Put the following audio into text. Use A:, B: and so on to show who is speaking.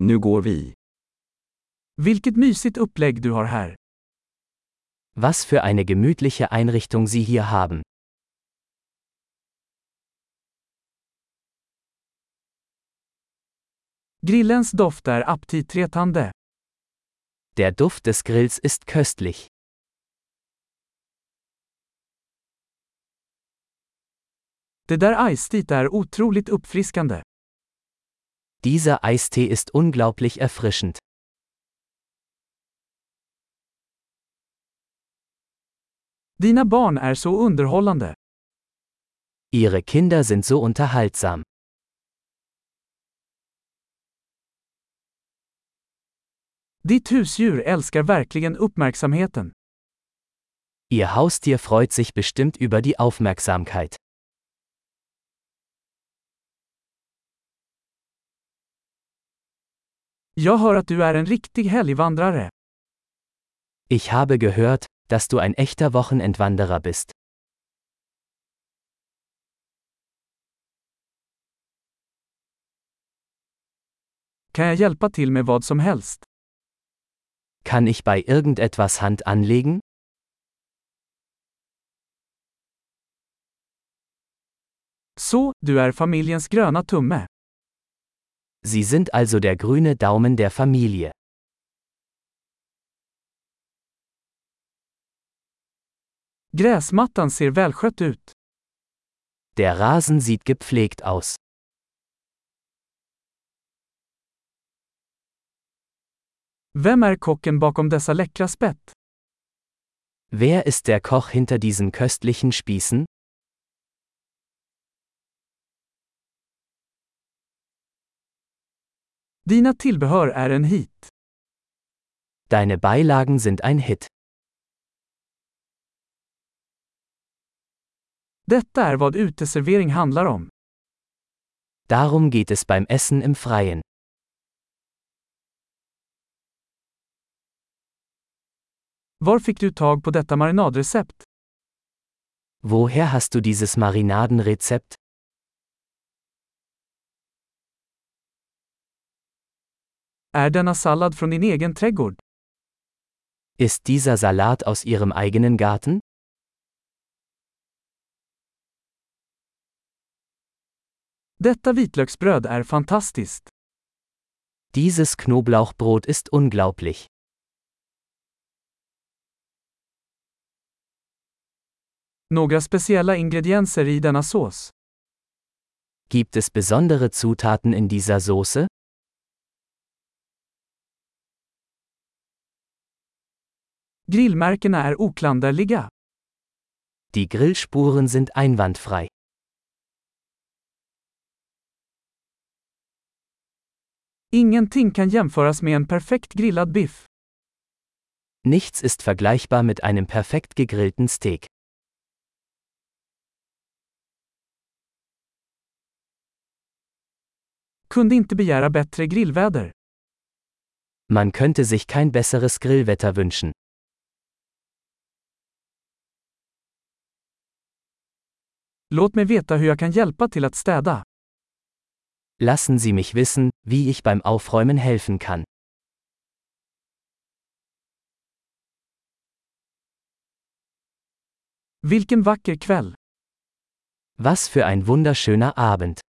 A: Nu går vi.
B: Vilket mysigt upplägg du har här.
C: Was für eine gemütliche Einrichtung Sie hier haben.
B: Grillens doft är aptitretande.
C: Der Duft des Grills ist köstlich.
B: Det där iceteet är otroligt uppfriskande.
C: Dieser Eistee ist unglaublich erfrischend.
B: Dina barn är så underhållande.
C: Ihre Kinder sind so unterhaltsam.
B: Ditt husdjur älskar verkligen uppmärksamheten.
C: Ihr Haustier freut sich bestimmt über die Aufmerksamkeit.
B: Jag hör att du är en riktig helgvandrare.
C: Ich habe gehört, dass du ein echter Wochenendwanderer bist.
B: Kan jag hjälpa till med vad som helst?
C: Kann ich bei irgendetwas Hand anlegen?
B: Så, du är familjens gröna tumme.
C: Sie sind also der grüne Daumen der Familie.
B: Gräsmattan ser välskött ut.
C: Der Rasen sieht gepflegt aus.
B: Vem är kocken bakom dessa läckra spett?
C: Wer ist der Koch hinter diesen köstlichen Spießen?
B: Dina tillbehör är en hit.
C: Deine Beilagen sind ein Hit.
B: Detta är vad uteservering handlar om.
C: Darum geht es beim Essen im Freien.
B: Var fick du tag på detta marinadrecept?
C: Woher hast du dieses Marinadenrezept?
B: Är denna sallad från din egen trädgård?
C: Ist dieser Salat aus Ihrem eigenen Garten?
B: Detta vitlöksbröd är fantastiskt.
C: Dieses Knoblauchbrot ist unglaublich.
B: Några speciella ingredienser i denna sås.
C: Gibt es besondere Zutaten in dieser Soße?
B: Grillmärkena är oklanderliga.
C: Die Grillspuren sind einwandfrei.
B: Ingenting kan jämföras med en perfekt grillad biff.
C: Nichts ist vergleichbar mit einem perfekt gegrillten Steak.
B: Kunde inte begära bättre grillväder.
C: Man könnte sich kein besseres Grillwetter wünschen.
B: Låt mig veta hur jag kan hjälpa till att städa.
C: Lassen Sie mich wissen, wie ich beim Aufräumen helfen kann.
B: Vilken vacker kväll!
C: Was für ein wunderschöner Abend!